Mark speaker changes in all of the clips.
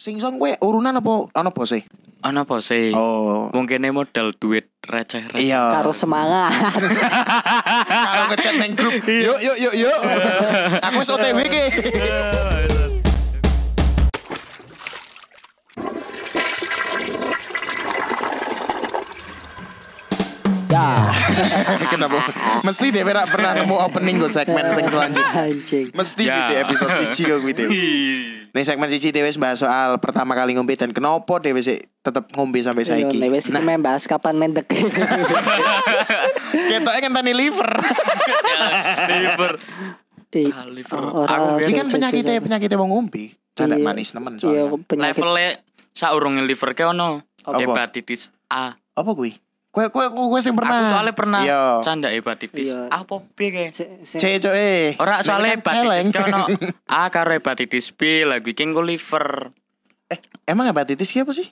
Speaker 1: Sing song kowe urunan apa ana bose?
Speaker 2: Ana apa sih?
Speaker 1: Oh.
Speaker 2: Mungkin modal duit receh-receh.
Speaker 1: Iya.
Speaker 3: Karo semangat.
Speaker 1: Kalau ngechat neng grup.
Speaker 2: Iya.
Speaker 1: Yuk yuk yuk yuk. Aku wis OTW ki.
Speaker 3: Ya.
Speaker 1: Kenapa? Mesti deh ora pernah nemu opening go segmen sing selanjutnya.
Speaker 3: Anjing.
Speaker 1: Mesti
Speaker 2: Ya. Iya.
Speaker 1: di episode siji kok kuwi Dewi. Ning segmen siji Dewi wis bahas soal pertama kali ngombe dan kenapa Dewi sik tetep ngombe
Speaker 3: Iya,
Speaker 1: sampai saiki.
Speaker 3: Yo, Wes iki
Speaker 1: Nah,
Speaker 3: main bahas kapan mendek.
Speaker 1: ketoke ngenteni liver.
Speaker 2: Liver.
Speaker 3: Ih,
Speaker 1: Nah,
Speaker 2: Ah, liver.
Speaker 3: oh, ora
Speaker 2: Aku biar-
Speaker 1: Iki kan
Speaker 3: cocok,
Speaker 1: penyakitnya
Speaker 2: iya.
Speaker 3: cocok.
Speaker 1: penyakitnya wong ngombe. Canda
Speaker 3: Iya.
Speaker 1: manis nemen
Speaker 3: Iya,
Speaker 1: soalnya.
Speaker 3: penyakit.
Speaker 2: Levelnya saurunge liver ke ono
Speaker 1: Apa?
Speaker 2: hepatitis A.
Speaker 1: Apa kuwi? Kowe kowe kowe sing pernah.
Speaker 2: Aku soalnya pernah
Speaker 1: Iya.
Speaker 2: canda hepatitis.
Speaker 3: Iya.
Speaker 2: Apa piye ke?
Speaker 3: Se- se-
Speaker 1: C cok eh. Nek
Speaker 2: Ora soalnya
Speaker 1: kan
Speaker 2: hepatitis
Speaker 1: celeng.
Speaker 2: ke ono A karo hepatitis B lagi king liver.
Speaker 1: Emang hepatitis ki apa sih?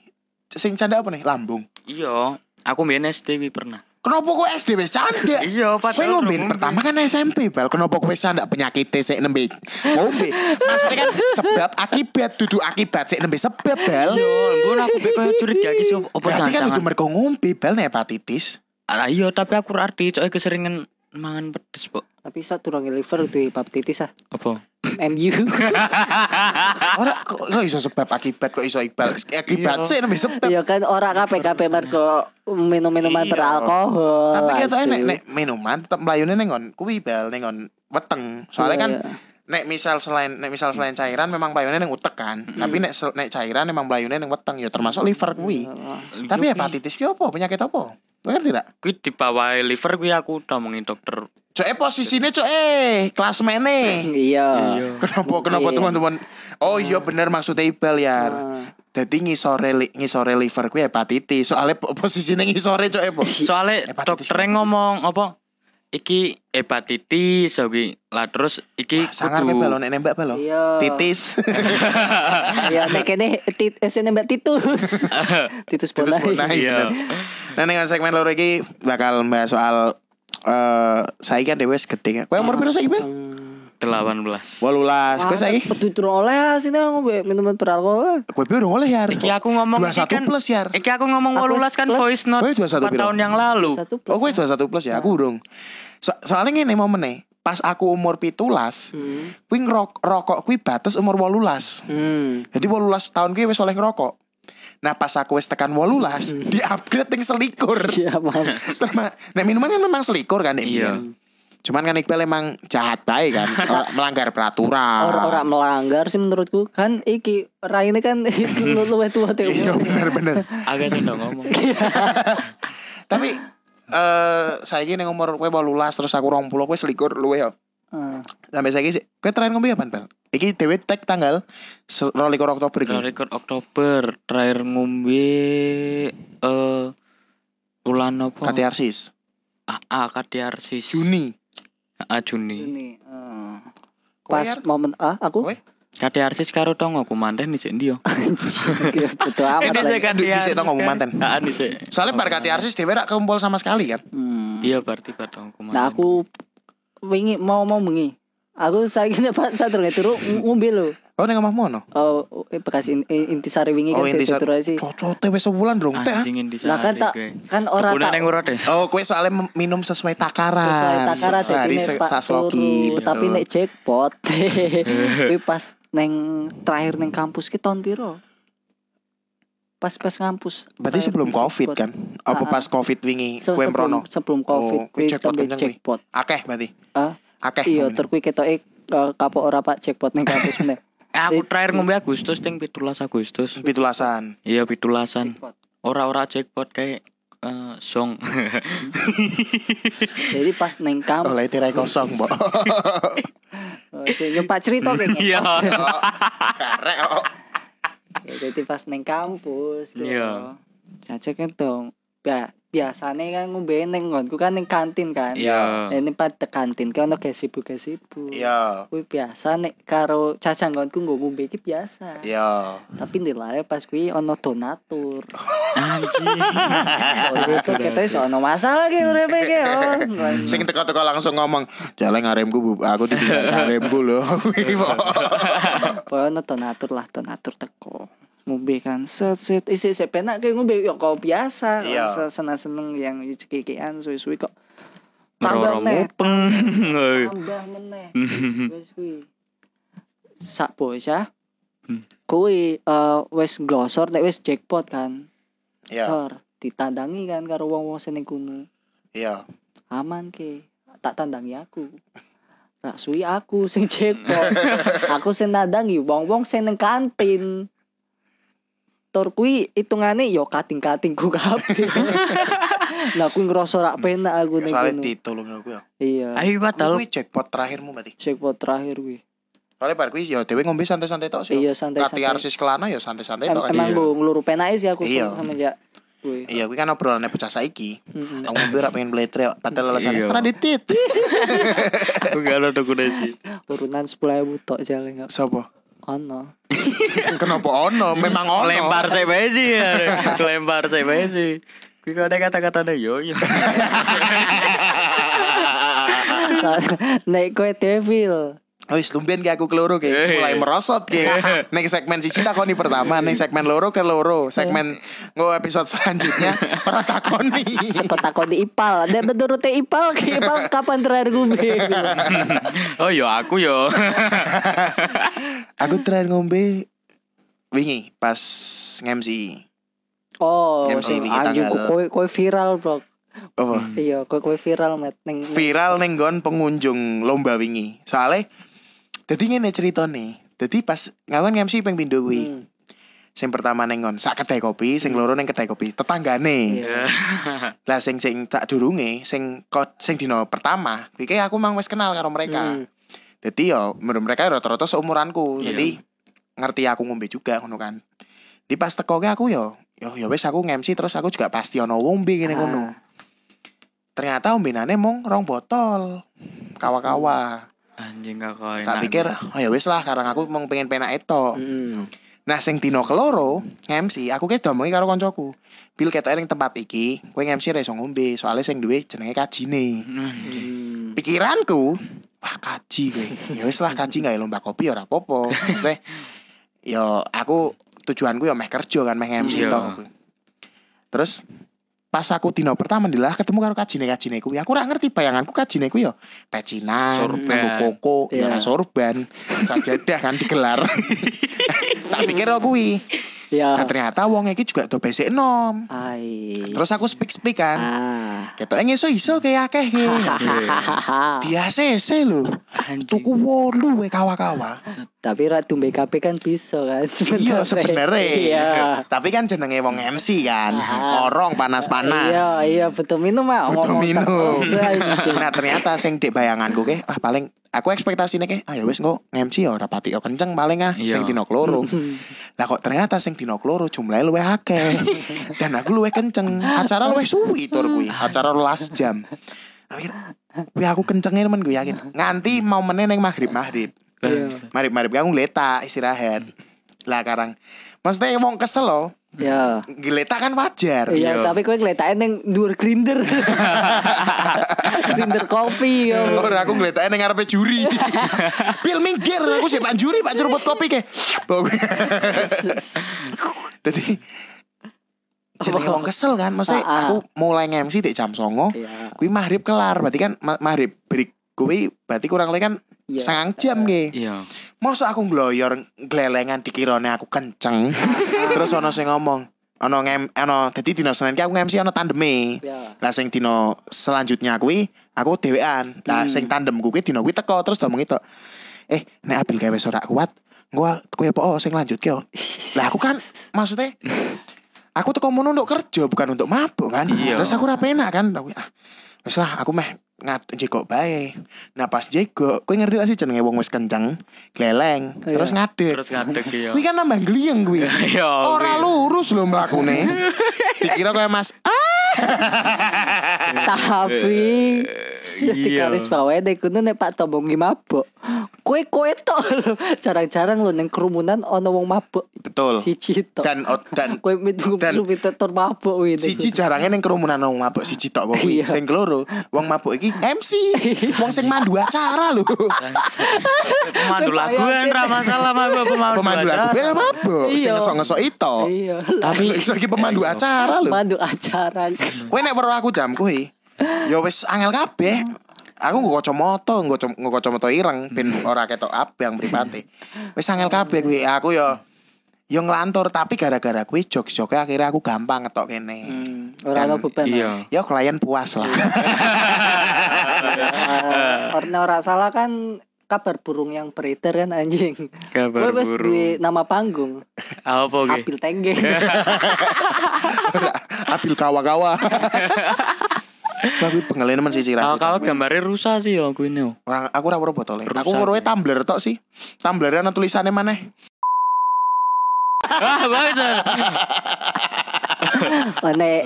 Speaker 1: Sing canda apa nih? Lambung.
Speaker 2: Iya, aku mbiyen SD wi pernah.
Speaker 1: Kenapa kowe SD wis canda?
Speaker 2: Iya,
Speaker 1: Kowe ngombe pertama kan SMP bal. Kenapa kowe canda penyakit sik nembe ngombe? Maksudnya kan sebab akibat dudu akibat sik nembe sebab bal.
Speaker 2: Iya, mbon aku mbek koyo curiga iki sih opo
Speaker 1: Berarti kan kudu
Speaker 2: jangan-jangan.
Speaker 1: mergo ngombe bal nek hepatitis.
Speaker 2: Lah iya, tapi aku ora arti coke keseringan mangan pedes, Pok.
Speaker 3: tapi iso turunge liver tuh hepatitis ah.
Speaker 2: Apa?
Speaker 3: MU.
Speaker 1: Ora kok kok iso sebab akibat kok iso ibal. Akibat
Speaker 2: Iya.
Speaker 1: sik nembe sebab.
Speaker 3: Iya kan ora KPKP mergo minum-minuman
Speaker 1: Iya.
Speaker 3: beralkohol.
Speaker 1: Tapi
Speaker 3: asu.
Speaker 1: ketoke nek nek minuman tetep mlayune ning ngon kuwi bal ning ngon weteng. Soalnya
Speaker 3: Iya,
Speaker 1: kan
Speaker 3: iya.
Speaker 1: nek misal selain nek misal selain cairan memang playone ning utek kan. Tapi nek sel- nek cairan memang playone ning weteng ya termasuk liver kuwi.
Speaker 3: Hmm.
Speaker 1: Tapi
Speaker 2: Iya,
Speaker 1: hepatitis ki apa? Penyakit apa? Kowe ngerti tidak?
Speaker 2: kuwi dibawahi liver kuwi aku ngomongi dokter.
Speaker 1: Coe posisine coe kelas mene.
Speaker 3: Iya.
Speaker 1: Kenapa kenapa
Speaker 3: Mungkin.
Speaker 1: teman-teman? Oh iya bener maksudnya Ibal ya.
Speaker 3: Ah.
Speaker 1: Dadi ngisore li- ngisore liver kuwi hepatitis. Soale po- posisine ngisore coe po.
Speaker 2: Soale
Speaker 1: Hepatitis
Speaker 2: dokternya
Speaker 1: apa sih?
Speaker 2: ngomong apa? Iki hepatitis iki. Lah terus iki
Speaker 1: Sangar kowe balo nek nembak balo.
Speaker 3: Iya.
Speaker 1: Titis.
Speaker 3: Iya, nek kene tit eh, sini Mbak Titus.
Speaker 1: Titus
Speaker 3: Titus Bonai.
Speaker 1: Bonai.
Speaker 2: Nah, Iya.
Speaker 1: Nah ning segmen loro iki bakal bahas soal eh saiki kan dhewe wis gedhe. Kowe umur piro saiki, Bel?
Speaker 3: Hmm.
Speaker 2: 18.
Speaker 1: 18. Kowe Nah, saiki
Speaker 3: Pedu turun oleh sini ngombe minuman beralkohol.
Speaker 1: kowe piro oleh ya?
Speaker 2: Iki aku ngomong iki
Speaker 1: 21
Speaker 2: kan-
Speaker 1: plus ya.
Speaker 2: Iki aku ngomong
Speaker 3: Aku
Speaker 2: 18 kan
Speaker 3: plus-
Speaker 2: voice note
Speaker 1: Kowe 21
Speaker 2: 4
Speaker 1: piro?
Speaker 2: tahun yang lalu.
Speaker 3: Satu plus.
Speaker 1: Oh gue 21 plus ya, aku urung. So- soalnya ngene momen nih, pas aku umur pitulas,
Speaker 3: Hmm.
Speaker 1: kuwi ngerok rokok kuwi batas umur wolulas.
Speaker 3: Hmm.
Speaker 1: Jadi wolulas tahun kuwi wis oleh ngerokok. Nah pas aku wis tekan wolulas,
Speaker 2: Hmm.
Speaker 1: di upgrade yang selikur.
Speaker 3: Iya, man.
Speaker 1: Sama, nek minuman kan memang selikur kan, Nek,
Speaker 2: Iya.
Speaker 1: Bian. Cuman kan Iqbal emang jahat baik kan, Ora- melanggar peraturan.
Speaker 3: Orang-orang melanggar sih menurutku kan iki Raine kan lu luwih tua teh.
Speaker 1: Iya bener-bener.
Speaker 2: Agak kan sudah ngomong.
Speaker 1: Tapi eh saya ini umur gue wolulas terus aku rong puluh gue selikur luwe ya.
Speaker 3: Ah.
Speaker 1: Sampai saya sih, gue terakhir ngombe apa Bel? Iki dewe tag tanggal se- rolikur Oktober iki.
Speaker 2: Kalau record Oktober terakhir ngombe eh bulan apa?
Speaker 1: KTRSIS
Speaker 2: Ah, ah, Katiarsis.
Speaker 1: Juni
Speaker 2: Ah, Juni.
Speaker 3: Ini. ah.
Speaker 1: Kowe, kan?
Speaker 3: Pas
Speaker 1: Yar?
Speaker 3: momen ah aku
Speaker 1: Kowe?
Speaker 2: Katiarsis karo tong aku manten dhisik ndi yo.
Speaker 3: Iya, betul amat.
Speaker 1: Ini-
Speaker 3: lagi.
Speaker 1: dhisik, dhisik tong eh,
Speaker 3: kan?
Speaker 1: ngomong manten.
Speaker 2: Heeh, dhisik.
Speaker 1: Soalnya bar
Speaker 2: Ngomong manten.
Speaker 1: KTRSIS dewe rak kumpul sama sekali kan
Speaker 3: Hmm.
Speaker 2: Iya, berarti bar tong aku manten.
Speaker 3: Nah aku wingi mau mau bengi. Aku saiki dapat satu nggak turu ng- ngombe lo.
Speaker 1: Oh ini ngomong mono
Speaker 3: Oh, eh, bekas in, eh, intisari wingi
Speaker 1: Oh
Speaker 3: kan
Speaker 1: ini sar
Speaker 3: saya turu aja sih.
Speaker 1: Cocote wes sebulan dong teh ah.
Speaker 2: anjingin di
Speaker 3: Lah
Speaker 2: sana.
Speaker 3: kan tak kan ora
Speaker 2: Ora
Speaker 3: tak
Speaker 2: ning ora desa.
Speaker 1: Oh kue soalnya mem- minum sesuai takaran
Speaker 3: sesuai takara
Speaker 1: Sehari se-
Speaker 3: jadi
Speaker 1: gitu.
Speaker 3: nek pak
Speaker 1: sasloki
Speaker 3: turu
Speaker 1: betul.
Speaker 3: tapi nek jackpot. Kuwi pas neng terakhir neng kampus ki tahun piro? Pas pas kampus.
Speaker 1: Berarti
Speaker 3: Terakhir
Speaker 1: sebelum
Speaker 3: neng
Speaker 1: covid
Speaker 3: jackpot.
Speaker 1: kan Apa
Speaker 3: Ah, ah.
Speaker 1: pas covid wingi
Speaker 3: Se-
Speaker 1: Kue
Speaker 3: sebelum-
Speaker 1: merono
Speaker 3: Sebelum covid
Speaker 1: Oh, kuwi
Speaker 3: kuwi
Speaker 1: jackpot
Speaker 3: tembe
Speaker 1: kenceng Eh, kuwi.
Speaker 3: jackpot.
Speaker 1: Akeh berarti
Speaker 3: Ah?
Speaker 1: Akeh
Speaker 3: Iya,
Speaker 1: ngomongnya.
Speaker 3: terkuwi ketoke eh, kapok ora Pak jackpot neng kampus meneh.
Speaker 2: Aku terakhir ngombe Agustus ting 17 Agustus.
Speaker 1: Pitulasan
Speaker 2: Iya,
Speaker 1: Kan.
Speaker 2: 17-an.
Speaker 3: Jackpot.
Speaker 2: Ora-ora jackpot kayak eh, song.
Speaker 3: Jadi pas neng kampus
Speaker 1: Oleh tirai kosong mbok
Speaker 3: Oh, sih, Yo Pak cerita kayak gitu.
Speaker 2: Iya.
Speaker 1: Karek oh.
Speaker 3: Ya, Jadi pas neng kampus gitu.
Speaker 2: Iya.
Speaker 3: Jajak kan dong. Ba- biasanya kan ngombe neng nggonku kan neng kantin kan.
Speaker 1: Iya.
Speaker 3: Eh, Ini pada kantin kan ono gesibu-gesibu.
Speaker 1: Iya
Speaker 3: Kuwi biasa nek karo cacang nggonku nggo ngombe iki biasa.
Speaker 1: Iya
Speaker 3: Tapi nilainya pas kuwi ono donatur.
Speaker 2: Anjing.
Speaker 1: iya,
Speaker 3: Ora itu kita iso ono masalah ki uripe ki. oh.
Speaker 1: Sing teko-teko langsung ngomong, "Jalan ngaremku, Bu. aku ditinggal ngaremku lho." Kuwi, Bo.
Speaker 3: Pokoknya ono donatur lah donatur teko. ngombe kan set set isi isi penak kayak ngombe ya kau biasa
Speaker 1: Iya.
Speaker 3: seneng seneng yang cekikian suwi suwi kok
Speaker 2: meroro
Speaker 3: Tambah meneh.
Speaker 2: mupeng.
Speaker 1: Iya.
Speaker 3: tambah meneh
Speaker 1: Hmm.
Speaker 3: wes kuwi sak bocah
Speaker 2: Hmm.
Speaker 3: kuwi eh, wes glosor nek wes jackpot kan
Speaker 1: Iya,
Speaker 3: Tor, ditandangi kan karo wong-wong sing kuno
Speaker 1: iya.
Speaker 3: aman ke tak tandangi aku Rak suwi aku sing jackpot aku sing nandangi wong-wong sing neng kantin Tor kuwi hitungane yo kating-katingku kabeh. Lah aku ngerasa rak penak aku ning
Speaker 1: Soalnya
Speaker 3: kono.
Speaker 1: ditolong aku ya.
Speaker 3: Iya,
Speaker 2: Ayo padahal
Speaker 1: Kuwi jackpot terakhirmu berarti.
Speaker 3: jackpot terakhir kuwi.
Speaker 1: Soalnya bar kuwi ya dhewe ngombe santai-santai tok sih.
Speaker 3: Iya
Speaker 1: Kati
Speaker 3: santai-santai.
Speaker 1: arsis kelana ya santai-santai
Speaker 3: Em,
Speaker 1: tok kan.
Speaker 3: emang
Speaker 2: Iya.
Speaker 3: gue ngeluru penai sih aku
Speaker 1: Iya.
Speaker 3: sama sama Mm-hmm. ya gue
Speaker 1: Iya, kuwi kan obrolannya bocah saiki.
Speaker 3: Mm-mm.
Speaker 1: Nang ngombe rak pengen bletre padahal alasannya
Speaker 2: Iya.
Speaker 1: pernah ditit.
Speaker 2: aku gak ada dokumentasi.
Speaker 3: urunan sepuluh ribu tok jalan nggak
Speaker 1: Sopo?
Speaker 3: ono
Speaker 1: Kenapa ono? Memang ono.
Speaker 2: Lempar saya bae sih. ya. Lempar saya bae sih. Kuwi kok ada kata-kata yo yo.
Speaker 3: naik kue devil
Speaker 1: Wis lumben ki aku keloro ki,
Speaker 2: Eh.
Speaker 1: mulai merosot ki. Ning segmen siji takoni pertama, ning segmen loro ke loro, segmen
Speaker 3: Eh.
Speaker 1: nggo episode selanjutnya ora takoni.
Speaker 3: petakon di ipal dan menurut ipal ke ipal kapan terakhir gue
Speaker 2: Oh yo aku yo.
Speaker 1: Aku terakhir ngombe wingi pas ngemsi.
Speaker 3: oh
Speaker 1: Yang
Speaker 3: sing
Speaker 1: sini kita
Speaker 3: anjing
Speaker 1: nggak-
Speaker 3: kue kue viral bro
Speaker 1: Apa?
Speaker 3: iya kue kue viral met neng
Speaker 1: Viral ning nggon pengunjung lomba wingi. Soale dadi ngene ceritane. Dadi pas ngawan ngemsi ping pindho kuwi.
Speaker 3: Hmm.
Speaker 1: Sing pertama ning nggon sak kedai kopi, sing loro ning kedai kopi tetanggane.
Speaker 3: Iya.
Speaker 1: Lah sing sing tak durunge sing kot sing dino pertama, iki aku mang wis kenal karo mereka.
Speaker 3: Hmm.
Speaker 1: Jadi yo menurut mereka ya rata-rata seumuranku.
Speaker 2: Iya.
Speaker 1: Jadi ngerti aku ngombe juga ngono kan. Di pas teko ke aku yo yo yo wis aku ngemsi terus aku juga pasti ono ngombe ngene ngono.
Speaker 3: Ah.
Speaker 1: Ternyata ombenane mung rong botol. Kawa-kawa.
Speaker 2: Anjing gak kau enak.
Speaker 1: Tak pikir oh ya wis lah karena aku mung pengen penak eto.
Speaker 3: Hmm.
Speaker 1: Nah sing dino keloro ngemsi aku ke domongi karo koncoku. Bil ketok ning tempat iki, kowe ngemsi ra iso ngombe soalnya sing duwe jenenge kajine.
Speaker 2: Anjing.
Speaker 3: Hmm.
Speaker 1: pikiranku wah kaji gue ya wis lah kaji nggak ya lomba kopi ya ora apa-apa maksudnya ya aku tujuanku ya meh kerja kan meh MC
Speaker 2: Iya.
Speaker 1: toh aku. terus pas aku dino pertama ndilah ketemu karo kajine kajine kuwi aku ora ngerti bayanganku kajine kuwi ya pecinan
Speaker 2: Sorban.
Speaker 1: nganggo koko ya ora
Speaker 3: Iya.
Speaker 1: sorban sajadah kan digelar tak pikir aku kuwi nah,
Speaker 3: ya
Speaker 1: ternyata wong iki juga do besek nom
Speaker 3: ai
Speaker 1: terus aku speak speak kan
Speaker 3: ah
Speaker 1: ketoke iso iso kayak akeh ya. ge dia CC lho
Speaker 2: Anjing.
Speaker 1: tuku wolu we kawa-kawa.
Speaker 3: Tapi ratu BKP kan bisa kan
Speaker 1: Iya sebenarnya.
Speaker 3: Iya.
Speaker 1: Tapi kan jenenge wong MC kan.
Speaker 3: Ah.
Speaker 1: Orang
Speaker 3: Iya,
Speaker 1: panas-panas.
Speaker 3: iya betul minum ah
Speaker 1: Betul minum.
Speaker 3: terus, anjing.
Speaker 1: Nah ternyata sing di bayanganku ke ah paling aku ekspektasine ke ah ya wis engko MC ya ora pati ya kenceng paling ah
Speaker 2: Iya.
Speaker 1: sing dino kloro. Lah kok ternyata sing dino kloro jumlahe luwih akeh. Dan aku luwih kenceng. Acara luwih suwi tur kuwi. Acara 12 jam. Akhir Wih aku kencengnya temen gue yakin Nganti mau meneng maghrib-maghrib
Speaker 2: Kan
Speaker 3: Iya.
Speaker 1: Maghrib-maghrib aku letak istirahat Lah karang Maksudnya emang kesel loh
Speaker 3: Iya.
Speaker 1: Geletak kan wajar.
Speaker 2: Iya.
Speaker 3: Iya, tapi kowe ngletakne ning dhuwur grinder. grinder kopi ya.
Speaker 1: Ora aku ngletaknya ning ngarepe juri. Pil minggir aku sih Pak juri, Pak juruput kopi ke. Dadi jenenge wong kesel kan, maksudnya
Speaker 3: Oh. Ah, ah.
Speaker 1: aku mulai ngemsi di jam 09.00,
Speaker 3: Iya.
Speaker 1: kuwi maghrib kelar, berarti kan ma- maghrib break kuwi berarti kurang lebih kan
Speaker 3: Iya.
Speaker 1: sangang jam ge.
Speaker 2: Iya.
Speaker 1: Masa aku ngloyor glelengan dikirone aku kenceng. Terus ono sing ngomong, ono ngem ono dadi dina Senin ki aku ngemsi ono tandeme.
Speaker 3: Iya.
Speaker 1: Lah sing dino selanjutnya kuwi aku dhewean. Lah
Speaker 3: Hmm.
Speaker 1: sing tandem kuwi dino kuwi teko terus ngomong itu. Eh, nek Abil gawe ora kuat, gua kowe apa oh, sing lanjut yo. Lah aku kan maksudnya aku teko mono untuk kerja bukan untuk mabuk kan.
Speaker 2: Iya.
Speaker 1: Terus aku ora penak kan. Aku ah, wis lah aku meh ngat jekok bae. Nah pas jekok, kowe ngerti gak sih jenenge wong wis kenceng, gleleng,
Speaker 3: Iya.
Speaker 1: terus ngadeg.
Speaker 2: Terus ngadeg ya.
Speaker 1: Kuwi kan nambah gliyeng kuwi.
Speaker 2: Iya.
Speaker 1: Ora lurus lho mlakune. Eh, Dikira kayak Mas eh,
Speaker 3: Tapi
Speaker 1: iya.
Speaker 3: Tiga garis bawah nek kudu nek Pak Tombongi mabuk. Kowe kowe tok lho. Jarang-jarang lho ning kerumunan ana wong mabuk
Speaker 1: Betul.
Speaker 3: siji tok.
Speaker 1: Dan ot- dan
Speaker 3: Kowe mitu
Speaker 1: dan-
Speaker 3: mitu tur mabuk kuwi. nek
Speaker 1: siji jarangnya ning kerumunan wong mabuk siji tok kuwi.
Speaker 3: Iya.
Speaker 1: Sing keloro, wong mabuk iki MC. Wong sing mandu acara lho.
Speaker 2: Pemandu laguan ra masalah mabuk pemandu,
Speaker 1: Pemandu lagu ben mabuk, sing
Speaker 3: Iya.
Speaker 1: ngesok-ngesok itu.
Speaker 3: kuwi. Iya.
Speaker 1: Tapi
Speaker 2: Tapi-
Speaker 1: iso iki pemandu
Speaker 2: Iya.
Speaker 1: acara lho. Hmm.
Speaker 3: Mandu acara.
Speaker 1: Kowe nek weruh aku jam kuwi, ya wis angel kabeh. Aku nggo kacamata, nggo com- nggo kacamata ireng ben ora ketok abang mripate. Wis angel kabeh kuwi aku ya yo ngelantur tapi gara-gara kuwi jog-joge akhirnya aku gampang ngetok kene.
Speaker 3: Hmm, Ora ana
Speaker 1: Dan-
Speaker 3: beban.
Speaker 2: Iya.
Speaker 1: Ya klien puas lah.
Speaker 3: Eh, Karena ora salah kan kabar burung yang beredar kan anjing. Gue
Speaker 2: Kabar
Speaker 3: wes duwe
Speaker 2: burung.
Speaker 3: nama panggung
Speaker 2: Apa ki?
Speaker 3: Apil Tengge.
Speaker 1: Abil kawa-kawa. Tapi pengelenan men sisi
Speaker 2: Kalau
Speaker 1: aku.
Speaker 2: kalau gambarnya rusak sih ya aku ini.
Speaker 1: Orang aku ora weruh botole.
Speaker 2: Rusak.
Speaker 1: Aku weruhe tumbler tok sih. Tumbler ana tulisane maneh.
Speaker 2: Ah, bener.
Speaker 3: Mana eh,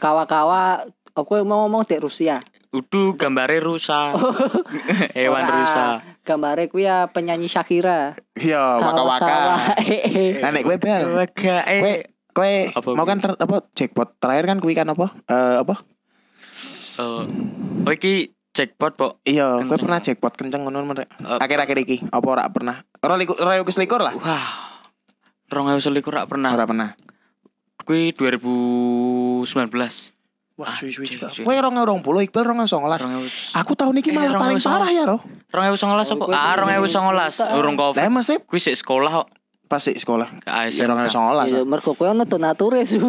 Speaker 3: kawa-kawa aku mau ngomong di Rusia.
Speaker 2: Udu gambarnya rusak.
Speaker 1: Oh.
Speaker 2: Hewan
Speaker 3: Ora.
Speaker 2: rusak.
Speaker 3: Gambarnya kuwi ya penyanyi Shakira.
Speaker 1: Yo Iya, waka-waka.
Speaker 3: Kawa-kawa. Eh, eh.
Speaker 1: Nah, nek kowe bel.
Speaker 2: Waga
Speaker 1: Kowe
Speaker 2: eh.
Speaker 1: kowe
Speaker 2: Apa
Speaker 1: mau
Speaker 2: kuwi?
Speaker 1: kan ter, apa jackpot terakhir kan kuwi kan apa? Eh apa?
Speaker 2: Eh, Oh iki jackpot po.
Speaker 1: Iya, kowe
Speaker 2: Kenceng.
Speaker 1: pernah jackpot kenceng ngono men. Rek?
Speaker 2: Eh,
Speaker 1: Akhir-akhir iki apa ora pernah? Ora liku ora yo keselikur lah.
Speaker 2: Wah. 2021 rak pernah.
Speaker 1: Ora pernah.
Speaker 2: Kuwi 2019.
Speaker 1: Wah, suwi-suwi
Speaker 2: cek,
Speaker 1: juga.
Speaker 2: cek.
Speaker 1: Kowe 2020, Iqbal 2019.
Speaker 2: 2019
Speaker 1: Aku tahun iki
Speaker 2: Eh,
Speaker 1: malah paling
Speaker 2: 2019.
Speaker 1: parah ya, Roh.
Speaker 2: apa? Ah, 2019 urung
Speaker 1: Lah
Speaker 2: Covid.
Speaker 1: mesti
Speaker 2: Kuwi sik sekolah kok. Ah,
Speaker 1: pas sik sekolah.
Speaker 2: Ke
Speaker 1: Ya
Speaker 2: ASMK.
Speaker 1: 2019.
Speaker 3: Iya, Kan mergo kowe ono donature ya, su.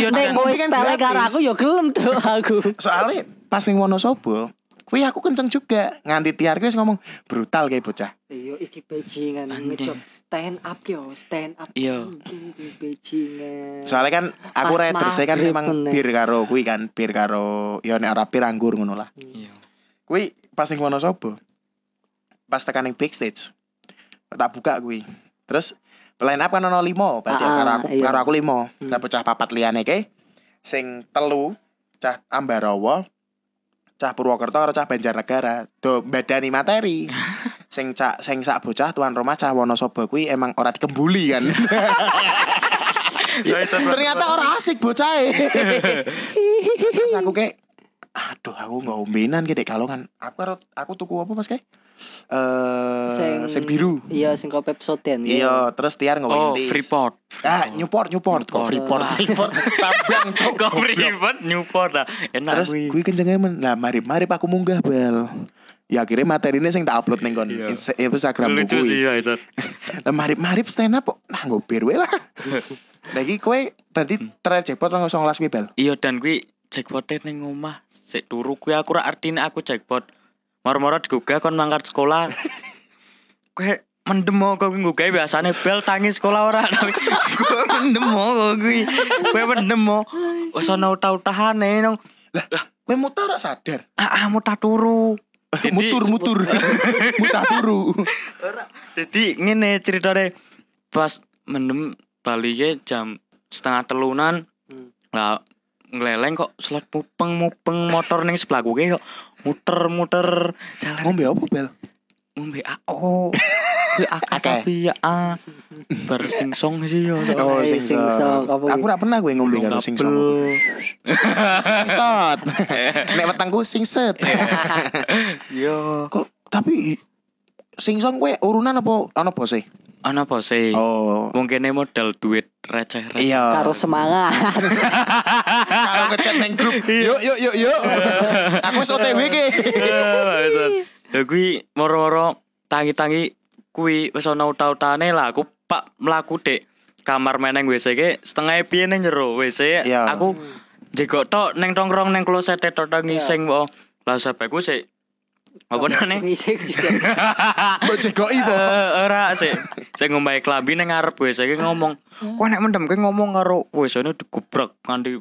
Speaker 2: Iya,
Speaker 3: Nek
Speaker 2: Dan.
Speaker 3: kowe
Speaker 1: Tapi kan
Speaker 3: sepele
Speaker 1: gratis.
Speaker 3: karo aku ya gelem tuh aku.
Speaker 1: soalnya pas ning Wonosobo kuwi aku kenceng juga nganti tiar wis ngomong brutal kayak bocah
Speaker 3: Iya, iki bajingan
Speaker 2: Anjing.
Speaker 3: ngejob stand up yo, stand up.
Speaker 2: Iya.
Speaker 3: Anjing, iki Bajingan.
Speaker 1: soalnya kan aku
Speaker 3: Pas
Speaker 1: rider saya kan
Speaker 3: maghrib
Speaker 1: memang
Speaker 3: meneh.
Speaker 1: bir karo kuwi kan bir karo ya nek ora bir anggur ngono lah
Speaker 2: Iya.
Speaker 1: kuwi pas ning Wonosobo pas tekan ning backstage tak buka kuwi terus line up kan ono limo berarti
Speaker 3: Ah,
Speaker 1: karo aku
Speaker 3: iya.
Speaker 1: karo aku limo
Speaker 3: Hmm.
Speaker 1: tak pecah papat liyane ke sing telu cah Ambarawa cah Purwokerto karo cah Banjarnegara do badani materi sing cak sing sak bocah tuan rumah cah Wonosobo kuwi emang ora dikembuli kan ternyata ora asik bocahe terus aku kayak aduh aku nggak umbinan gitu kalongan aku karo- aku tuku apa mas kayak eh sing,
Speaker 3: Sing-
Speaker 1: biru
Speaker 3: Iya, sing kopi soden.
Speaker 1: iya terus tiar nggak
Speaker 2: Oh,
Speaker 1: wintis.
Speaker 2: Freeport.
Speaker 1: ah Newport Newport kok Freeport Freeport
Speaker 3: Newport.
Speaker 1: tabang cok
Speaker 2: Kok
Speaker 1: goblok.
Speaker 2: Freeport Newport ah. Enak
Speaker 1: Terus
Speaker 2: kuwi.
Speaker 1: gue kencengnya men Lah marip-marip aku munggah bel Ya akhirnya materinya sing tak upload ning kon
Speaker 2: Iya.
Speaker 1: Insta- Instagram
Speaker 2: Lucu sih
Speaker 1: gue
Speaker 2: ya itu.
Speaker 1: Lah marip-marip stand up kok Nah ngobir we lah Lagi kue Berarti
Speaker 2: Hmm.
Speaker 1: terakhir jackpot Lo ngosong las bel
Speaker 2: Iya dan kuwi jackpote ning omah sik turu kuwi aku ra artine aku jackpot. Moro-moro digugah kon mangkat sekolah. Kuwi mendem kok kuwi nggugah biasane bel tangi sekolah ora tapi kuwi mendem kok kuwi. Kuwi mendem. Wes ana eh, utah-utahane nang
Speaker 1: Kue mutar gak sadar
Speaker 2: ah ah, mutah turu.
Speaker 1: Eh,
Speaker 2: Jadi-
Speaker 1: Mutur-mutur Mutar turu
Speaker 2: Jadi ngene ceritane pas mendem balike jam setengah telunan
Speaker 3: Hmm.
Speaker 2: lah ngeleleng kok slot mupeng mupeng motor ning sebelahku ki kok muter-muter jalan
Speaker 1: Ngombe apa bel
Speaker 2: ngombe AO kuwi akeh
Speaker 1: Akeh.
Speaker 2: tapi ya ah bar sing song sih yo
Speaker 3: Oh,
Speaker 1: Oh sing
Speaker 3: sing song, apa
Speaker 1: Aku
Speaker 3: kuwi?
Speaker 1: gak pernah gue ngombe karo sing song Sot
Speaker 2: Eh.
Speaker 1: Nek wetengku sing set
Speaker 2: yo
Speaker 1: Kok tapi i- Sing song kue urunan apa Ano bose
Speaker 2: ana apa sih
Speaker 1: Oh
Speaker 2: mungkin modal duit receh-receh
Speaker 1: Iya
Speaker 3: Karo semangat.
Speaker 1: Kalau ngechat neng grup Yuk
Speaker 2: Iya.
Speaker 1: yuk yuk yuk Aku wis OTW ke
Speaker 2: Ya kuwi moro-moro tangi-tangi kuwi wis ana uta-utane lah aku pak mlaku dek kamar meneng WC ke setengah piye ning jero WC
Speaker 1: Iya.
Speaker 2: aku jegok tok ning tongkrong ning kloset e tok tok ngising po lah sebeku sik apa nane
Speaker 3: Ngisik juga.
Speaker 1: Mbok jegoki po
Speaker 2: Eh, ora sih sing ngombahi klambi ning ngarep wis iki ngomong kok nek mendem ki ngomong karo wis ini digebrek nganti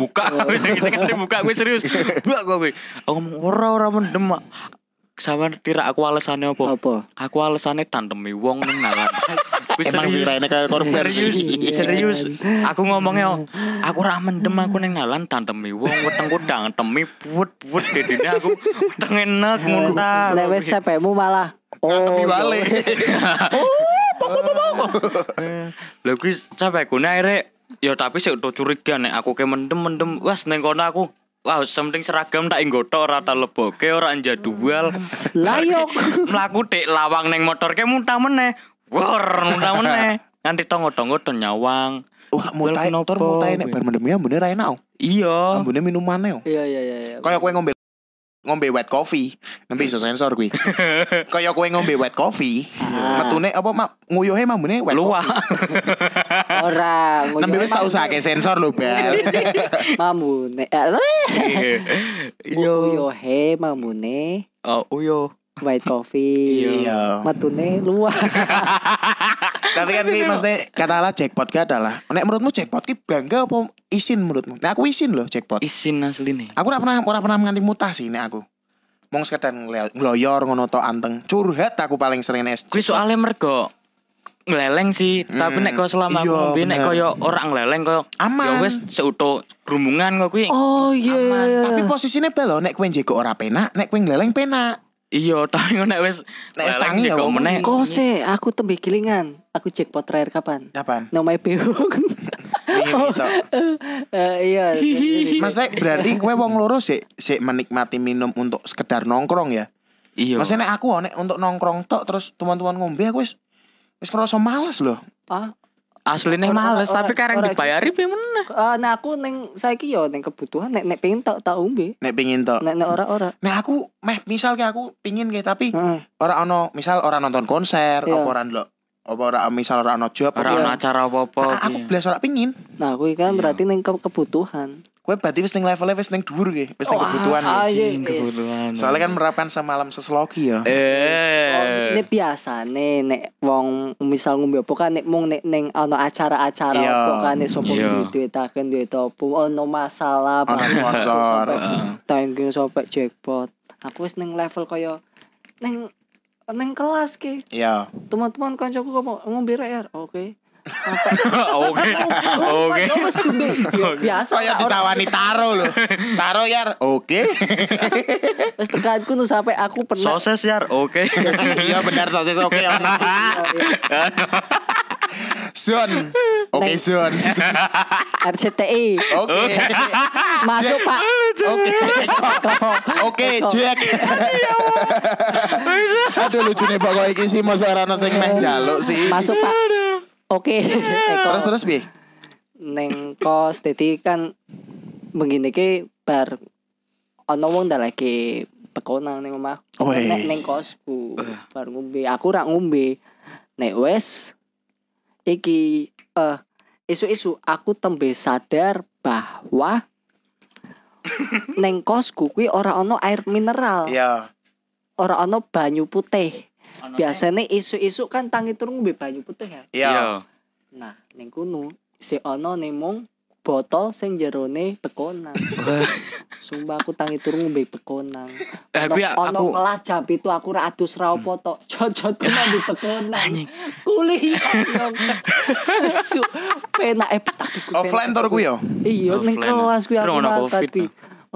Speaker 2: buka
Speaker 1: Oh.
Speaker 2: kowe sing nganti buka kowe serius blak kowe aku ngomong ora ora mendem mak sama tirak aku alasannya apa
Speaker 3: Apa?
Speaker 2: aku alasannya tandemi wong ning nalan Aku
Speaker 1: Emang sih
Speaker 2: serius.
Speaker 1: Raine kayak korban
Speaker 2: Serius,
Speaker 1: sih.
Speaker 2: serius. Aku ngomongnya oh, aku ra mendem aku ning nalan tandemi wong wetengku dang temi buat-buat dedine aku weteng enak ngono ta.
Speaker 3: Lewat sepemu malah.
Speaker 1: Tapi balik.
Speaker 2: Eh, Lha kuwi sampe gune akhirnya ya tapi sik utuh curiga nek aku ke mendem-mendem wes ning kono aku Wah, penting seragam tak inggoto ora tak leboke ora njadwal.
Speaker 3: Layok.
Speaker 2: Mlaku dek lawang ning motor ke muntah meneh. Wor, muntah meneh. Nganti tonggo-tonggo don nyawang.
Speaker 1: Wah, mutai
Speaker 2: Kenapa?
Speaker 1: tur mutai nek bar ya, mendemnya bener Raine au.
Speaker 2: Iya.
Speaker 1: oh. Ambune e, oh. minumannya au.
Speaker 3: Iya iya iya. iya.
Speaker 1: Kaya kowe ngombe ngombe wet coffee, nembe iso sensor kuwi. Kaya kowe ngombe wet coffee,
Speaker 3: Ah.
Speaker 1: metune apa mak nguyuhe mambune wet
Speaker 2: Luwak.
Speaker 1: coffee.
Speaker 3: Ora. ngoyo
Speaker 1: Nembe wis tak
Speaker 3: emang
Speaker 1: usahake sensor lho, Bal.
Speaker 3: Mamune. Eh, leh,
Speaker 2: Iya.
Speaker 3: Yo he mamune.
Speaker 2: Oh, uyo.
Speaker 3: White coffee.
Speaker 1: Iya.
Speaker 3: Matune luar.
Speaker 1: Tapi kan kuwi maksudnya katalah jackpot ki adalah nek menurutmu jackpot ki bangga apa isin menurutmu? Nek aku isin loh jackpot.
Speaker 2: Isin asli nih.
Speaker 1: Aku ora pernah ora pernah nganti mutah sih nek aku. Mong sekedar ngelo- ngloyor ngono to anteng. Curhat aku paling sering nek
Speaker 2: Kuwi
Speaker 1: jackpot.
Speaker 2: soalnya mergo ngeleleng sih, tapi
Speaker 1: Hmm.
Speaker 2: nek kau selama
Speaker 1: Iya,
Speaker 2: ngombe nek
Speaker 1: bener.
Speaker 2: koyo ora ngeleleng koyo
Speaker 1: aman.
Speaker 2: ya wis seutuh rumungan kok kuwi.
Speaker 3: Oh iya.
Speaker 2: Aman.
Speaker 3: iya.
Speaker 1: Tapi posisinya belo nek kowe njego ora penak, nek kowe ngleleng penak.
Speaker 2: Iya, tapi ngono nek wis
Speaker 1: Nek wis
Speaker 2: leleng
Speaker 1: tangi ya
Speaker 2: juga
Speaker 1: wong
Speaker 2: meneh.
Speaker 1: kuwi.
Speaker 3: Kose, aku tembe gilingan. Aku jackpot terakhir kapan?
Speaker 1: Kapan?
Speaker 3: Nomai beung.
Speaker 1: Wingi gitu.
Speaker 3: Eh, iya.
Speaker 1: Maksudnya berarti kowe wong loro sik sik menikmati minum untuk sekedar nongkrong ya.
Speaker 2: Iya.
Speaker 1: Maksudnya nek aku oh, nek untuk nongkrong tok terus teman-teman ngombe aku wis wis ngerasa males loh.
Speaker 3: Ah,
Speaker 2: Asline
Speaker 3: Ora-
Speaker 2: males,
Speaker 3: ora-
Speaker 2: tapi kareng
Speaker 3: ora-
Speaker 2: dibayari piye men.
Speaker 3: eh, nah aku neng saiki yo neng kebutuhan nek nek pengen tak tak umbe.
Speaker 1: Nek pengin tok.
Speaker 3: Nek nek ora-ora.
Speaker 1: Nek aku meh misal kayak aku pingin kayak tapi
Speaker 3: Heeh.
Speaker 1: ora ono misal ora nonton konser,
Speaker 3: Iya.
Speaker 1: apa ora ndelok apa ora misal ora ono job
Speaker 2: Ora iya.
Speaker 1: apa-
Speaker 2: ono acara apa-apa.
Speaker 1: Nah, Ah, aku
Speaker 2: kuwi.
Speaker 1: belas ora pingin.
Speaker 3: Nah, aku
Speaker 2: Iya.
Speaker 3: kan berarti neng ke- kebutuhan.
Speaker 1: Kowe berarti wis ning level wis ning dhuwur ki, wis ning
Speaker 3: Oh,
Speaker 1: kebutuhan.
Speaker 3: ah,
Speaker 1: ki.
Speaker 3: iya.
Speaker 2: Anjing, kebutuhan.
Speaker 1: Soalnya kan menerapkan semalam seseloki ya.
Speaker 3: Oh,
Speaker 2: eh
Speaker 3: ini biasa nih nek wong misal ngombe apa kan nek mung nek ning ana acara-acara
Speaker 1: Iya.
Speaker 3: apa kan nek sapa
Speaker 2: Iya.
Speaker 3: duwe duit akeh duit apa ono masalah
Speaker 1: Ono
Speaker 3: apa,
Speaker 1: sponsor.
Speaker 3: sampai
Speaker 2: Heeh.
Speaker 3: tanggil sampai jackpot. Aku wis ning level kaya ning ning kelas ki.
Speaker 1: Iya.
Speaker 3: Teman-teman kancaku ngomong ngombe rek, Er." Oke.
Speaker 1: Oh,
Speaker 2: Oke. Oke.
Speaker 3: Yo, wis ngombe. Ya, Biasa.
Speaker 1: Saya
Speaker 3: lah, orang-
Speaker 1: ditawani taro loh. Taro yar. Oke.
Speaker 3: Wis tekanku nu sampai aku pernah
Speaker 2: Sosis yar, oke.
Speaker 1: Iya benar sosis oke ono. Sun. Oke
Speaker 3: Neng.
Speaker 1: Sun.
Speaker 3: RCTI
Speaker 1: Oke.
Speaker 3: masuk Pak.
Speaker 1: Oke. Oke Jack. Aduh lucu nih pokoknya iki sih masa ora ono sing meh jaluk sih.
Speaker 3: Masuk Pak. Oke.
Speaker 1: Terus
Speaker 3: Terus
Speaker 1: terus piye?
Speaker 3: neng kos jadi kan begini ki bar ono wong ndak lagi pekonan ning omah
Speaker 1: Weh.
Speaker 3: nek ning kosku bar ngombe aku rak ngombe nek wes iki eh isu-isu aku tembe sadar bahwa neng kosku kuwi ora ono air mineral
Speaker 1: Iya.
Speaker 3: ora ono banyu putih biasanya isu-isu kan tangi turu ngombe banyu putih ya
Speaker 1: Iya.
Speaker 3: Nah, ning kono si ono ning mung botol sing jerone pekonan. Sumpah aku tangi turu ngombe pekonan.
Speaker 2: Eh,
Speaker 3: Ono-
Speaker 2: kuwi
Speaker 3: ono
Speaker 2: aku Hmm.
Speaker 3: kelas jam itu aku ra adus ra apa tok. Jojotku nang di pekonan.
Speaker 2: anjing.
Speaker 3: Kuliah. dong. Su, penake tapi ku
Speaker 1: Offline
Speaker 3: penak.
Speaker 1: tur ku yo.
Speaker 3: Iya, ning
Speaker 2: Offline.
Speaker 3: kelas kuwi aku
Speaker 2: Ora ono
Speaker 3: mangkat
Speaker 2: Covid,
Speaker 3: kuwi.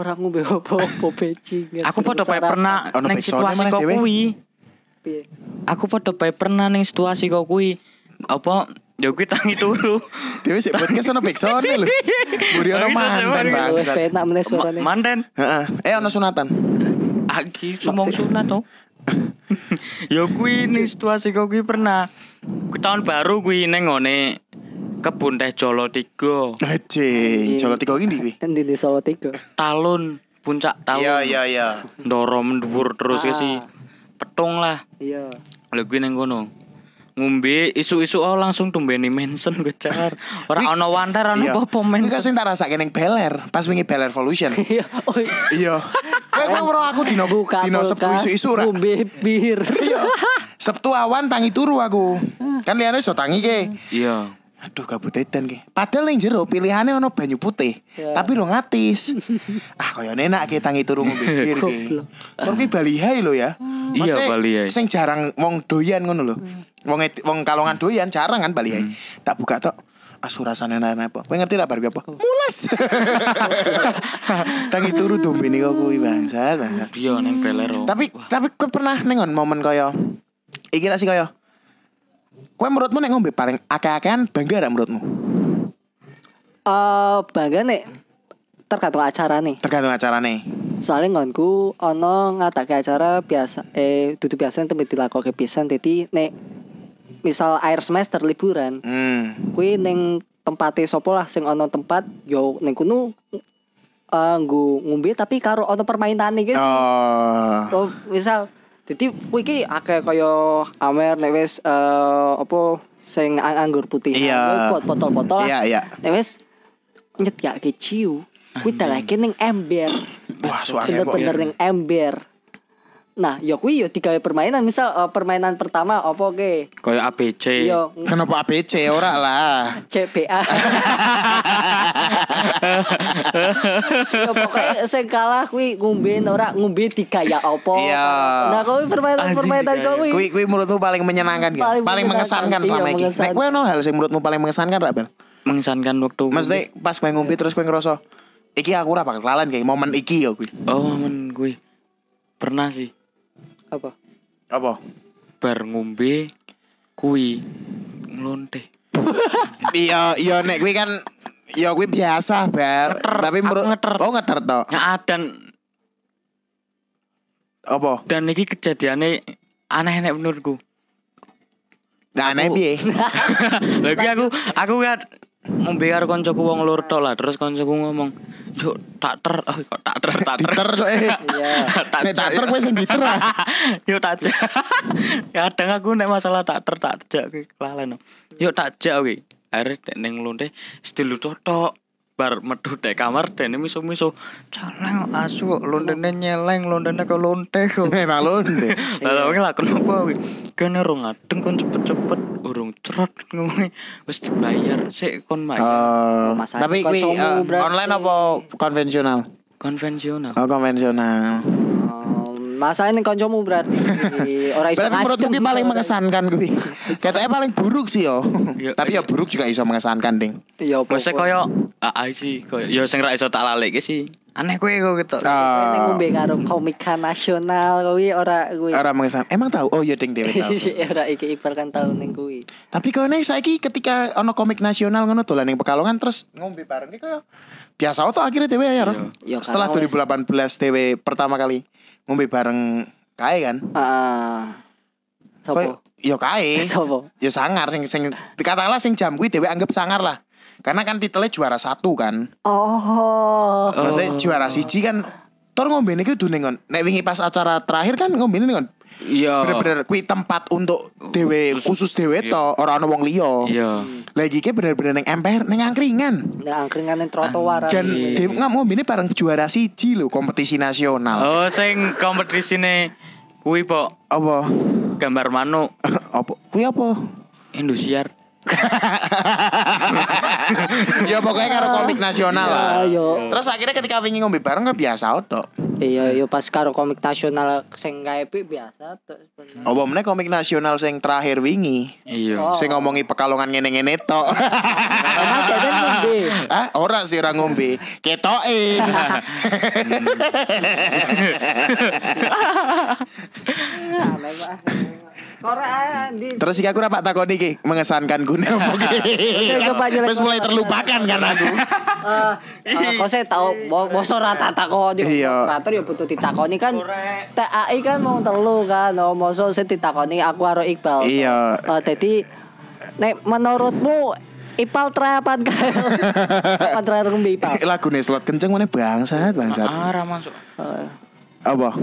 Speaker 3: Ora ngombe apa-apa bajingan.
Speaker 2: Aku padha
Speaker 3: Terus
Speaker 2: pe
Speaker 3: ora-
Speaker 2: pernah
Speaker 1: Ono backsoundnya
Speaker 2: ning situasi
Speaker 1: malah
Speaker 2: kok
Speaker 1: dhewe.
Speaker 2: kuwi.
Speaker 3: Piye?
Speaker 2: Aku padha pe pernah ning situasi kok kuwi. Apa ya kuwi tangi turu.
Speaker 1: Dewe sik podcast ono backsound lho. Mburi ono
Speaker 2: Tapi tetep
Speaker 1: mantan
Speaker 2: aja.
Speaker 3: Wes
Speaker 1: bangsat.
Speaker 3: penak meneh
Speaker 2: Ma-
Speaker 3: suarane.
Speaker 2: Manten.
Speaker 1: Heeh. Eh ono sunatan.
Speaker 2: Aki sumong sunat to. ya kuwi ning situasi kok kuwi pernah. Kuwi tahun baru kuwi ning ngone kebun teh Jolo 3,
Speaker 3: Iya.
Speaker 1: Anjing, jolo tiga iki ndi kuwi?
Speaker 3: Endi di Solo 3.
Speaker 2: Talun, puncak Talun.
Speaker 1: Iya iya iya.
Speaker 2: Ndoro mendur terus
Speaker 3: Ah.
Speaker 2: ke si petung lah.
Speaker 3: Iya.
Speaker 2: Lha kuwi nang kono. Ngombe isu-isu oh langsung tumbeni mention gue jar. Ora ana wandar ana
Speaker 1: Iya. Ini
Speaker 2: apa
Speaker 1: kan
Speaker 2: mention.
Speaker 1: sing tak rasake ning Beler, pas wingi Beler Evolution.
Speaker 3: Iya. Oh,
Speaker 1: Iya. Kowe kowe weruh aku dino
Speaker 3: buka
Speaker 1: dino Sabtu
Speaker 3: kulkas
Speaker 1: isu-isu ora.
Speaker 3: ngombe bir
Speaker 1: Iya. Sabtu awan tangi turu aku.
Speaker 3: Hmm.
Speaker 1: Kan liyane iso tangi ke.
Speaker 2: Iya.
Speaker 1: Aduh kabutetan ke. Padahal ning jero pilihannya ono banyu putih,
Speaker 3: Ya.
Speaker 1: tapi lo ngatis. ah koyo enak ke tangi turu ngombe bir ke.
Speaker 3: Goblok. Hmm.
Speaker 1: Tur ki Bali High lo ya.
Speaker 2: Iya
Speaker 1: Maksudnya,
Speaker 2: Bali ya.
Speaker 1: Sing jarang wong doyan ngono lho. Wong ed- wong kalongan doyan jarang kan Bali ya.
Speaker 2: Hmm.
Speaker 1: Tak buka tok asurasane nana apa. Kowe ngerti tak Barbie apa?
Speaker 3: Oh.
Speaker 1: Mules. Tangi turu dombe niku kuwi bangsat, bangsat.
Speaker 2: Iya neng Belero.
Speaker 1: Tapi
Speaker 2: Wah,
Speaker 1: tapi kowe pernah nengon momen kaya iki gak sih kaya Kowe menurutmu nek ngombe paling akeh-akehan bangga gak menurutmu?
Speaker 3: Eh, bangga nih tergantung acara nih.
Speaker 1: Tergantung acarane.
Speaker 3: Soalnya nggonku ono ngatake acara biasa eh dudu biasa tempe dilakoke pisan dadi nek misal air semester liburan,
Speaker 1: Hmm.
Speaker 3: kuwi ning tempate sapa lah sing ono tempat yo ning kuno eh nggo ngombe tapi karo ono permainan iki.
Speaker 1: Oh.
Speaker 3: Oh, misal jadi kuwi iki akeh kaya amer nek wis eh, apa sing ang- anggur putih.
Speaker 1: Iya.
Speaker 3: Pot potol-potol lah.
Speaker 1: Iya, iya.
Speaker 3: Nek wis nyetyake ciu, kuwi dalake ning ember.
Speaker 1: Wah, suaranya kok.
Speaker 3: Bener-bener ning ember. Nah, ya kuwi ya digawe permainan, misal eh, permainan pertama apa ke? Ya,
Speaker 2: Kayak ABC.
Speaker 1: Eh.
Speaker 3: Yo
Speaker 1: Kenapa ABC ora lah.
Speaker 3: CBA. ya, pokoknya sing kalah kuwi ngombe ora ngombe digaya apa.
Speaker 1: Iya.
Speaker 3: Nah, kuwi permainan-permainan
Speaker 2: Anjing, digaya.
Speaker 1: Kui
Speaker 3: kuwi.
Speaker 1: kui menurutmu paling menyenangkan gak? Paling,
Speaker 3: Paling
Speaker 1: mengesankan
Speaker 3: menyenangkan,
Speaker 1: selama
Speaker 3: iya,
Speaker 1: ini. Nek
Speaker 3: mengesankan.
Speaker 1: kowe ono hal sing menurutmu paling mengesankan ra, Bel?
Speaker 2: Mengesankan waktu.
Speaker 1: Maksudnya pas kowe ngombe terus kowe ngerasa iki aku ora bakal kelalen kayak momen iki ya kuwi.
Speaker 2: Oh men gue pernah sih
Speaker 3: Apa?
Speaker 1: Apa?
Speaker 2: bar ngombe kui ngelonte.
Speaker 1: Iya, iya nek kuwi kan ya kuwi biasa, Bel.
Speaker 2: Ngeter,
Speaker 1: Tapi
Speaker 2: aku
Speaker 1: menurut
Speaker 2: ngeter.
Speaker 1: Oh, ngeter tok.
Speaker 2: Ya dan
Speaker 1: Apa?
Speaker 2: dan iki kejadiannya aneh nek menurutku.
Speaker 1: Nah, nek
Speaker 2: Aku-
Speaker 1: piye?
Speaker 2: Lagi aku aku kan ngombe karo koncoku wong loro tok lah terus koncoku ngomong, "Juk tak ter, oh, kok tak ter, tak ter."
Speaker 1: Diter coy.
Speaker 3: Iya.
Speaker 2: tak
Speaker 1: Nek tak ter kowe sing diter ah.
Speaker 2: Yuk tak jak. Kadang aku nek masalah tak ter tak jak kuwi kelalen. Yuk tak jak kuwi. Are dek ning lonte sedelu totok. Bar metu dek kamar dene miso-miso. Caleng kok asu kok lontene nyeleng lontene ke lonte kok.
Speaker 1: Memang lonte.
Speaker 2: Lah wingi lah kenapa kuwi? Kene urung ngadeng kon cepet-cepet urung cerot ngomongi wis dibayar sik kon bayar
Speaker 1: Eh,
Speaker 3: Masalah
Speaker 1: tapi kui
Speaker 3: konsolmu
Speaker 1: eh,
Speaker 3: berarti.
Speaker 1: online apa konvensional?
Speaker 2: konvensional.
Speaker 1: Oh, konvensional.
Speaker 3: Um, masalah ini kancamu berarti orang
Speaker 1: Tapi menurutku ki paling mengesankan kuwi. Katanya paling buruk sih yo.
Speaker 2: Iya,
Speaker 1: Tapi ya
Speaker 2: iya.
Speaker 1: buruk juga iso mengesankan, Ding.
Speaker 3: Ya apa?
Speaker 2: Mesti koyo AI sih koyo ya sing ra iso tak lalik ki sih. Aneh kowe kok gitu.
Speaker 3: Kowe ning
Speaker 1: Eh,
Speaker 3: ngombe karo komika nasional kuwi ora kuwi.
Speaker 1: ora mengesan. Emang tahu? Oh, iya Ding dhewe tahu.
Speaker 3: Ora iki Iqbal kan tau ning kuwi.
Speaker 1: Tapi kau nih saiki ketika ono komik nasional ngono dolan ning Pekalongan terus ngombe bareng ki koyo biasa oto akhirnya dhewe ya. Ron.
Speaker 3: Iya. Iya,
Speaker 1: Setelah
Speaker 3: karena wes.
Speaker 1: 2018 dhewe pertama kali ngombe bareng kae kan.
Speaker 3: Heeh. Ah. Sopo? Eh,
Speaker 1: Koyo yo kae.
Speaker 3: Sopo?
Speaker 1: Ya sangar sing sing dikatakanlah sing jam kuwi dhewe anggap sangar lah. Karena kan titelnya juara satu kan.
Speaker 2: Oh.
Speaker 3: Oh.
Speaker 1: Maksudnya juara siji kan Tor ngombe ini kudu nengon Nek wingi pas acara terakhir kan ngombe ini nengon
Speaker 2: Iya.
Speaker 3: Oh.
Speaker 1: Bener-bener kui tempat untuk dewe Khusus
Speaker 2: Khusus.
Speaker 1: dewe
Speaker 2: Iya.
Speaker 1: to Orang wong liya
Speaker 2: Iya.
Speaker 1: Lagi ki bener-bener neng emper Neng angkringan
Speaker 3: Nek angkringan ning trotoar.
Speaker 1: Dan
Speaker 2: Iya.
Speaker 1: dewe nggak ngombe ini bareng juara siji lho Kompetisi nasional
Speaker 2: Oh, sing kompetisine kuwi pok
Speaker 1: Apa?
Speaker 2: gambar manuk
Speaker 1: apa? Kui apa?
Speaker 2: Indosiar.
Speaker 1: ya pokoknya karo komik nasional lah
Speaker 3: Ayo.
Speaker 1: Terus akhirnya ketika wingi ngombe bareng ya kebiasa oto
Speaker 3: Iya, yo pas karo komik nasional sing gawe pi biasa tuh sebenarnya.
Speaker 1: Apa meneh komik nasional sing terakhir wingi
Speaker 2: Iya.
Speaker 3: Oh.
Speaker 1: Sing ngomongi pekalongan ngene-ngene tok
Speaker 3: Karena jajan ngombe.
Speaker 1: Ah, ora sih ora ngombe. Ketoke.
Speaker 3: Aneh Pak. Ora di
Speaker 1: Terus iki aku ora tak takoni iki mengesankan gune opo iki.
Speaker 3: coba jelek.
Speaker 1: Wis mulai terlupakan kan aku.
Speaker 3: Eh, eh, kok saya tahu bosor rata takoni
Speaker 1: Iya.
Speaker 3: operator ya butuh ditakoni kan TAI kan mau telu kan oh mosok saya ditakoni aku karo Iqbal
Speaker 1: Iya.
Speaker 3: Eh, jadi nek menurutmu Ipal terapan kan apa terakhir ngombe Ipal
Speaker 1: Lagune slot kenceng meneh bangsat bangsat.
Speaker 2: Ah, ra masuk.
Speaker 3: Eh,
Speaker 1: Apa?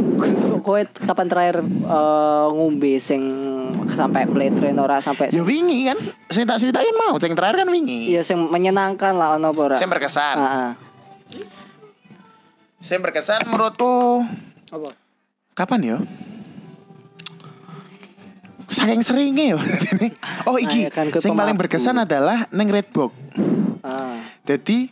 Speaker 3: kowe kapan terakhir eh, ngombe sing sampai meletre ora sampai
Speaker 1: Ya wingi kan. Sing tak ceritain mau sing terakhir kan wingi.
Speaker 3: ya sing menyenangkan lah ono apa ora
Speaker 1: Sing berkesan.
Speaker 3: Heeh.
Speaker 1: Sing berkesan menurutku
Speaker 3: apa
Speaker 1: kapan ya? yo? Saking seringnya yo. Oh iki,
Speaker 3: Nah, ya kan, ke
Speaker 1: sing paling
Speaker 3: pemaku.
Speaker 1: berkesan adalah neng Redbox.
Speaker 3: Ah.
Speaker 1: Jadi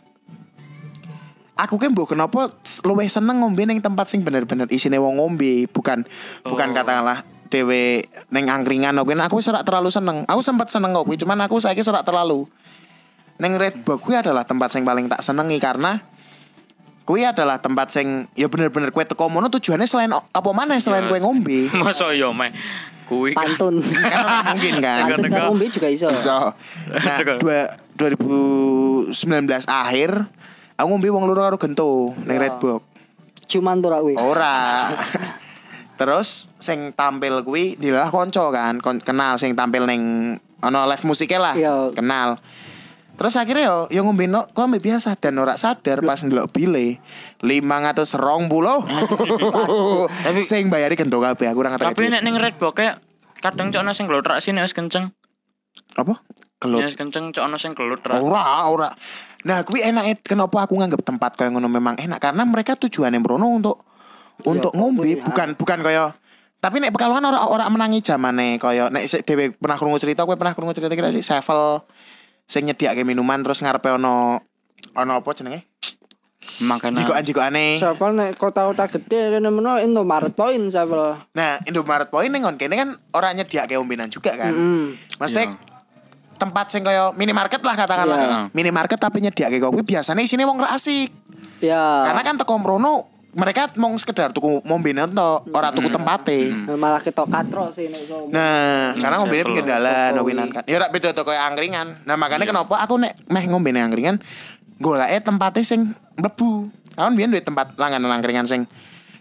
Speaker 1: aku kan mbok kenapa s- luwih seneng ngombe ning tempat sing bener-bener isine wong ngombe, bukan bukan
Speaker 2: Oh.
Speaker 1: katakanlah dewe neng angkringan oke aku serak terlalu seneng aku sempat seneng kok cuman aku saiki serak terlalu neng red Bull kuwi adalah tempat sing paling tak senengi karena kuwi adalah tempat sing ya bener-bener kue teko mono tujuannya selain o- apa mana selain kue ngombe
Speaker 2: Masa yo meh. Kuwi kan
Speaker 3: pantun
Speaker 1: Kan mungkin kan
Speaker 3: pantun
Speaker 2: Tengah-tengah.
Speaker 3: karo ombe juga iso
Speaker 1: bisa nah
Speaker 2: Teko.
Speaker 1: dua, 2019 akhir aku ngombe wong loro karo gento neng
Speaker 3: Ya.
Speaker 1: red Bull
Speaker 3: cuman tuh kuwi
Speaker 1: Ora. Terus sing tampil kuwi dilalah konco kan, kon- kenal sing tampil neng ono live musiknya lah,
Speaker 3: Iya.
Speaker 1: kenal. Terus akhirnya yo yo ngombe no, kok ngombe biasa dan ora sadar pas ndelok bile 520.
Speaker 2: Tapi-
Speaker 1: sing bayari kento kabeh aku ora ngerti.
Speaker 2: tapi nek ning Red Box kayak kadang cok ana sing glotrak sih nek wis kenceng.
Speaker 1: apa? Kelut.
Speaker 2: Nek wis kenceng cok ana sing glotrak.
Speaker 1: Ora, ora. Nah, kuwi enak kenapa aku nganggep tempat kaya ngono memang enak karena mereka tujuannya merono untuk untuk ngombe,
Speaker 3: ya.
Speaker 1: bukan bukan kaya tapi nek Pekalongan ora ora menangi jamane kaya nek sik dhewe pernah krungu cerita kowe pernah krungu cerita kira sik Sevel sing nyediake minuman terus ngarepe ono ono apa jenenge?
Speaker 2: Makanan.
Speaker 1: Jigokan-jigokane.
Speaker 3: Sevel nek kota-kota gede kene meno Indomaret poin sevel.
Speaker 1: Nah, Indomaret poin ning kene kan ora nyediake ombenan juga kan.
Speaker 3: Heeh.
Speaker 1: Maksudnya
Speaker 2: Iya.
Speaker 1: tempat sing kaya minimarket lah katakanlah.
Speaker 3: Iya.
Speaker 1: Minimarket tapi nyediake kopi biasanya isine wong ra asik.
Speaker 3: Ya.
Speaker 2: Ah.
Speaker 1: Karena kan teko mrono mereka mau sekedar tuku ngombe to, ora tuku
Speaker 2: Hmm.
Speaker 1: tempate.
Speaker 2: Hmm.
Speaker 3: malah ketok katro sih nek iso.
Speaker 1: Nah,
Speaker 2: Hmm,
Speaker 1: karena ngombe
Speaker 2: settle.
Speaker 1: pinggir dalan
Speaker 3: Jokowi.
Speaker 1: opinan kan. Ya ora beda to koyo angkringan. Nah, makanya
Speaker 2: Iya.
Speaker 1: kenapa aku nek meh ngombe nang angkringan goleke tempate sing mlebu. Kan biyen duwe tempat langganan angkringan sing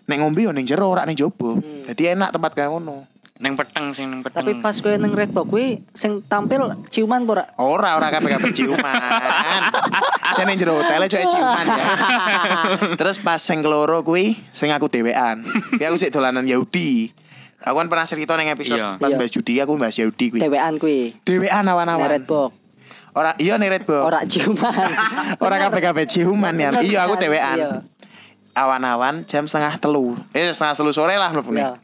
Speaker 1: nek ngombe yo ning jero ora ning jaba.
Speaker 3: Hmm.
Speaker 1: Jadi enak tempat kaya ngono.
Speaker 2: Ning peteng sing ning peteng.
Speaker 3: Tapi
Speaker 1: Hmm.
Speaker 3: pas kowe nang Red Box kuwi sing tampil ciuman apa ora?
Speaker 1: Ora ora kabeh-kabeh ciuman. Saya ning jero hotel aja ciuman ya. Terus pas sing keloro kuwi sing aku dhewean. Kuwi aku sik dolanan Yahudi. Aku kan pernah cerita ning episode
Speaker 2: Iya.
Speaker 1: pas
Speaker 3: Iya.
Speaker 1: bahas judi aku bahas Yahudi kuwi.
Speaker 3: Dewean kuwi.
Speaker 1: Dhewean
Speaker 3: Nang
Speaker 1: awan-awan.
Speaker 3: Red Box.
Speaker 1: Ora iya ning Red Bull.
Speaker 3: Ora ciuman.
Speaker 1: Ora kabeh-kabeh ciuman ya.
Speaker 3: Bener,
Speaker 1: Iya aku
Speaker 3: bener. Iya.
Speaker 1: dhewean. Awan-awan jam setengah telu. Eh setengah telu sore lah mlebune.
Speaker 3: Iya.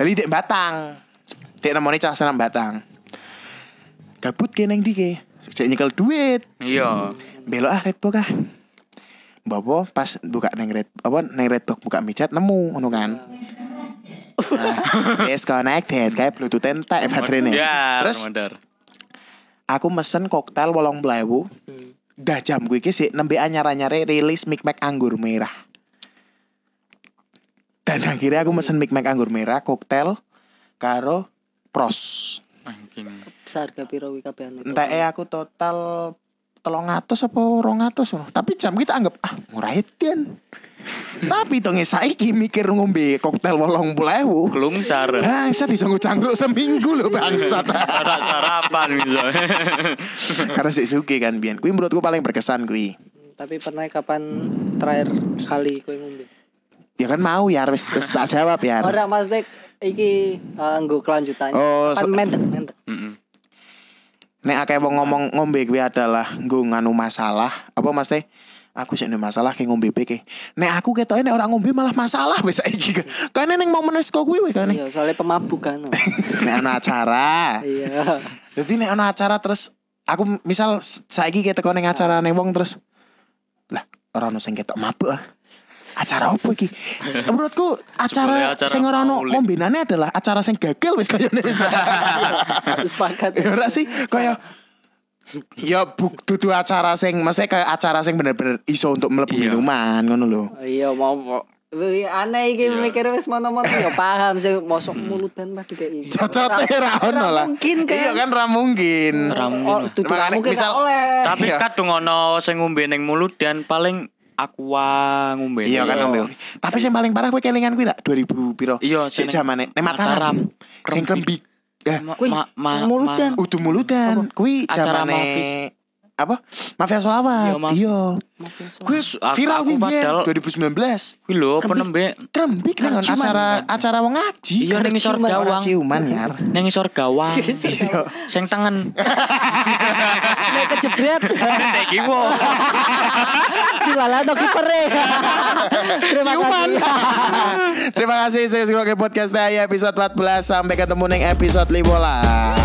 Speaker 1: Bali dek Batang. Dek nemoni cah senam Batang. Gabut ke neng dike. Sik nyekel duit.
Speaker 2: Iya.
Speaker 1: belok ah Redbox ah Bobo pas buka neng red apa neng redbox buka micat nemu ngono kan. Nah, disconnected kayak bluetooth entek baterainya.
Speaker 2: Modar,
Speaker 1: Terus
Speaker 2: modar.
Speaker 1: aku mesen koktail wolong blewu.
Speaker 3: Hmm.
Speaker 1: Dah jam gue iki sik nembe anyar-anyare rilis Mic Mac anggur merah. Dan akhirnya aku mesen Mic Mac anggur merah koktail karo pros.
Speaker 2: Anjing.
Speaker 3: Seharga piro kuwi anu. kabehane?
Speaker 1: Entah eh aku total telung atus apa rong atus loh. Tapi jam kita anggap ah murah etian. Tapi tonge saiki mikir ngombe koktail wolong pulau.
Speaker 2: Kelungsar.
Speaker 1: Bangsa disanggup cangkruk seminggu loh bangsat.
Speaker 2: Cara sarapan gitu.
Speaker 1: Karena si Suki kan bian. Kui menurutku paling berkesan kui.
Speaker 3: Tapi pernah kapan terakhir kali kowe ngombe?
Speaker 1: Ya kan mau ya harus tak jawab ya.
Speaker 3: Ora Mas Dek, iki eh, nggo kelanjutannya.
Speaker 1: Oh,
Speaker 3: Kapan
Speaker 1: so-
Speaker 3: mentek mentek.
Speaker 2: Heeh.
Speaker 1: Nek akeh wong ngomong ngombe kuwi adalah nggo nganu masalah. Apa Mas Teh? Aku sih masalah kayak ngombe peke. Nek aku ketoke nek ora ngombe malah masalah wis saiki. Kene ning mau menes kok kuwi weh kene.
Speaker 3: Iya, soalnya pemabukan. oh.
Speaker 1: Nek ana acara.
Speaker 3: Iya.
Speaker 1: Jadi nek ana acara terus aku misal s- saiki kita teko ning acara ning wong terus lah ora ono sing ketok mabuk ah. Acara opo iki? Menurutku acara,
Speaker 2: Sebenarnya acara
Speaker 1: sing ora ono
Speaker 2: maulid.
Speaker 1: ngombenane adalah acara sing gagal wis kaya ngene wis.
Speaker 3: Sepakat.
Speaker 1: Ya ora sih kaya ya buk dudu acara sing maksudnya kayak acara sing bener-bener iso untuk mlebu
Speaker 2: Iya.
Speaker 1: minuman ngono lho.
Speaker 3: Oh, Iya mau mau. Wih, aneh iki
Speaker 2: Iya.
Speaker 3: mikir wis mono-mono ya paham sih mosok mulutan mah dikeki.
Speaker 2: Iya.
Speaker 1: Cocote ra ono lah.
Speaker 3: mungkin kan.
Speaker 1: Iya kan ra mungkin.
Speaker 2: Ra mungkin.
Speaker 3: Oh, tutur
Speaker 1: Makanya
Speaker 3: mungkin
Speaker 1: misal-
Speaker 3: misal, oleh.
Speaker 2: Tapi
Speaker 1: Iya.
Speaker 2: kadung ono sing ngombe ning mulut dan paling aqua ngombe.
Speaker 1: Iya kan ngombe. Tapi sing paling parah kowe kelingan kuwi dak 2000 piro?
Speaker 2: Iya,
Speaker 1: Sik
Speaker 2: jeneng-
Speaker 1: jamane nek Mataram. Sing
Speaker 2: Krembi.
Speaker 1: Krembik. Eh,
Speaker 2: Ma-
Speaker 3: Kuih,
Speaker 2: ma- ma-
Speaker 3: muludan.
Speaker 1: Udu muludan kuwi
Speaker 2: Acara
Speaker 1: jamane apa? Mafia
Speaker 2: Iya,
Speaker 1: Solawat.
Speaker 2: Mafia.
Speaker 1: Iya.
Speaker 3: Makin suara.
Speaker 1: Kuwi
Speaker 2: Su- aku-
Speaker 1: viral
Speaker 2: aku
Speaker 1: kuwi biyen
Speaker 2: padahal-
Speaker 1: 2019.
Speaker 2: Kuwi lho apa
Speaker 3: Krembi.
Speaker 2: nembe?
Speaker 1: Krembik dengan
Speaker 3: Ciuman,
Speaker 1: acara
Speaker 3: kan?
Speaker 1: acara wong ngaji.
Speaker 2: Iya ning ngisor
Speaker 3: Ciuman,
Speaker 1: Ora
Speaker 2: gawang.
Speaker 1: ciuman ngar.
Speaker 2: Ning ngisor gawang.
Speaker 1: Iya.
Speaker 2: Sing tengen.
Speaker 3: Nek kejebret
Speaker 2: Iki wo.
Speaker 3: dilalah to kipere. Terima
Speaker 1: Ciuman.
Speaker 3: kasih.
Speaker 1: Terima kasih saya Podcast Daya episode 14 sampai ketemu ning episode 15.